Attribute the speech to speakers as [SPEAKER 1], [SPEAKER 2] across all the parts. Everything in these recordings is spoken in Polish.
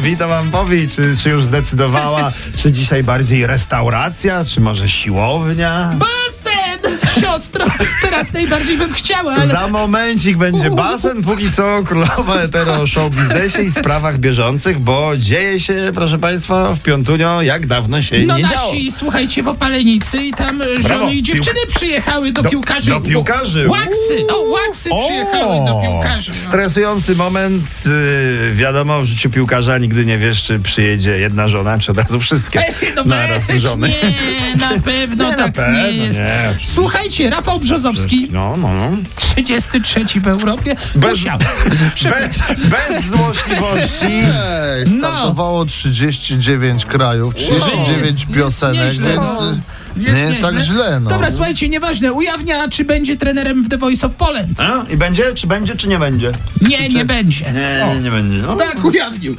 [SPEAKER 1] Witam Ampowi, czy, czy już zdecydowała, czy dzisiaj bardziej restauracja, czy może siłownia?
[SPEAKER 2] Basen! Siostro, teraz najbardziej bym chciała, ale...
[SPEAKER 1] Za momencik będzie basen, póki co królowa etero o show biznesie i sprawach bieżących, bo dzieje się, proszę państwa, w Piątunio jak dawno się
[SPEAKER 2] No
[SPEAKER 1] nie
[SPEAKER 2] nasi,
[SPEAKER 1] działo.
[SPEAKER 2] słuchajcie, w Opalenicy i tam e,
[SPEAKER 1] Brawo,
[SPEAKER 2] żony i dziewczyny przyjechały do,
[SPEAKER 1] do
[SPEAKER 2] piłkarzy.
[SPEAKER 1] do piłkarzy.
[SPEAKER 2] Łaksy, o, łaksy przyjechały do
[SPEAKER 1] O,
[SPEAKER 2] piłkarzy. No.
[SPEAKER 1] Stresujący moment. Yy, wiadomo, w życiu piłkarza nigdy nie wiesz, czy przyjedzie jedna żona, czy od razu wszystkie.
[SPEAKER 2] Ej, no
[SPEAKER 1] Naraz
[SPEAKER 2] weź,
[SPEAKER 1] żony.
[SPEAKER 2] Nie, na pewno
[SPEAKER 1] Nie, na
[SPEAKER 2] tak
[SPEAKER 1] pewno,
[SPEAKER 2] nie jest.
[SPEAKER 1] nie, oczywiście.
[SPEAKER 2] Słuchajcie, Rafał Brzozowski,
[SPEAKER 1] No, no, no.
[SPEAKER 2] 33 w Europie,
[SPEAKER 1] Bez-
[SPEAKER 2] musiał.
[SPEAKER 1] Bez, bez złośliwości.
[SPEAKER 3] Ej, startowało 39 krajów, 39 piosenek,
[SPEAKER 2] nieźle.
[SPEAKER 3] więc
[SPEAKER 2] No.
[SPEAKER 3] y, nie jest,
[SPEAKER 2] nieźle.
[SPEAKER 3] tak źle. No.
[SPEAKER 2] Dobra, słuchajcie, nieważne, ujawnia, czy będzie trenerem w The Voice of Poland.
[SPEAKER 1] A? I będzie? Czy będzie, czy nie będzie?
[SPEAKER 2] Nie, nie będzie.
[SPEAKER 1] Nie, nie, nie będzie. No, Znaczy,
[SPEAKER 2] Tak, ujawnił.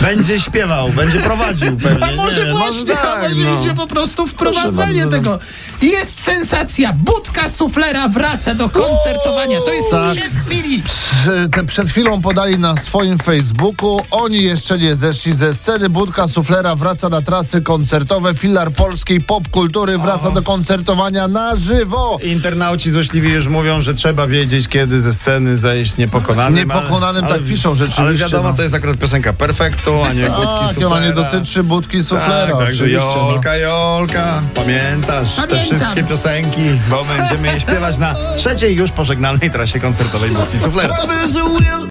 [SPEAKER 1] Będzie śpiewał, będzie prowadził pewnie.
[SPEAKER 2] A może
[SPEAKER 1] nie,
[SPEAKER 2] właśnie,
[SPEAKER 1] tak,
[SPEAKER 2] a może
[SPEAKER 1] no.
[SPEAKER 2] idzie po prostu wprowadzenie
[SPEAKER 1] bardzo. no.
[SPEAKER 2] tego. Jest sensacja. Budka suflera wraca do koncertowania. To jest
[SPEAKER 3] Tak.
[SPEAKER 2] sprzed chwili.
[SPEAKER 3] Prze- te- Przed chwilą podali na swoim Facebooku. Oni jeszcze nie zeszli ze sceny. Budka Suflera wraca na trasy koncertowe. Filar polskiej popkultury wraca do koncertowania na żywo.
[SPEAKER 1] Internauci złośliwi już mówią, że trzeba wiedzieć, kiedy ze sceny zejść niepokonanym. ale-
[SPEAKER 3] Niepokonanym tak piszą
[SPEAKER 1] Ale
[SPEAKER 3] rzeczywiście,
[SPEAKER 1] wiadomo,
[SPEAKER 3] no.
[SPEAKER 1] to jest akurat piosenka perfektu, a nie budki
[SPEAKER 3] Tak, i ona nie
[SPEAKER 1] Suflera.
[SPEAKER 3] dotyczy Budki Suflera.
[SPEAKER 1] Tak, także
[SPEAKER 3] oczywiście, no.
[SPEAKER 1] Jolka, Jolka, pamiętasz te
[SPEAKER 2] Pamiętam.
[SPEAKER 1] wszystkie piosenki, bo będziemy je śpiewać na trzeciej już pożegnanej trasie koncertowej Budki Suflera.
[SPEAKER 4] There's a will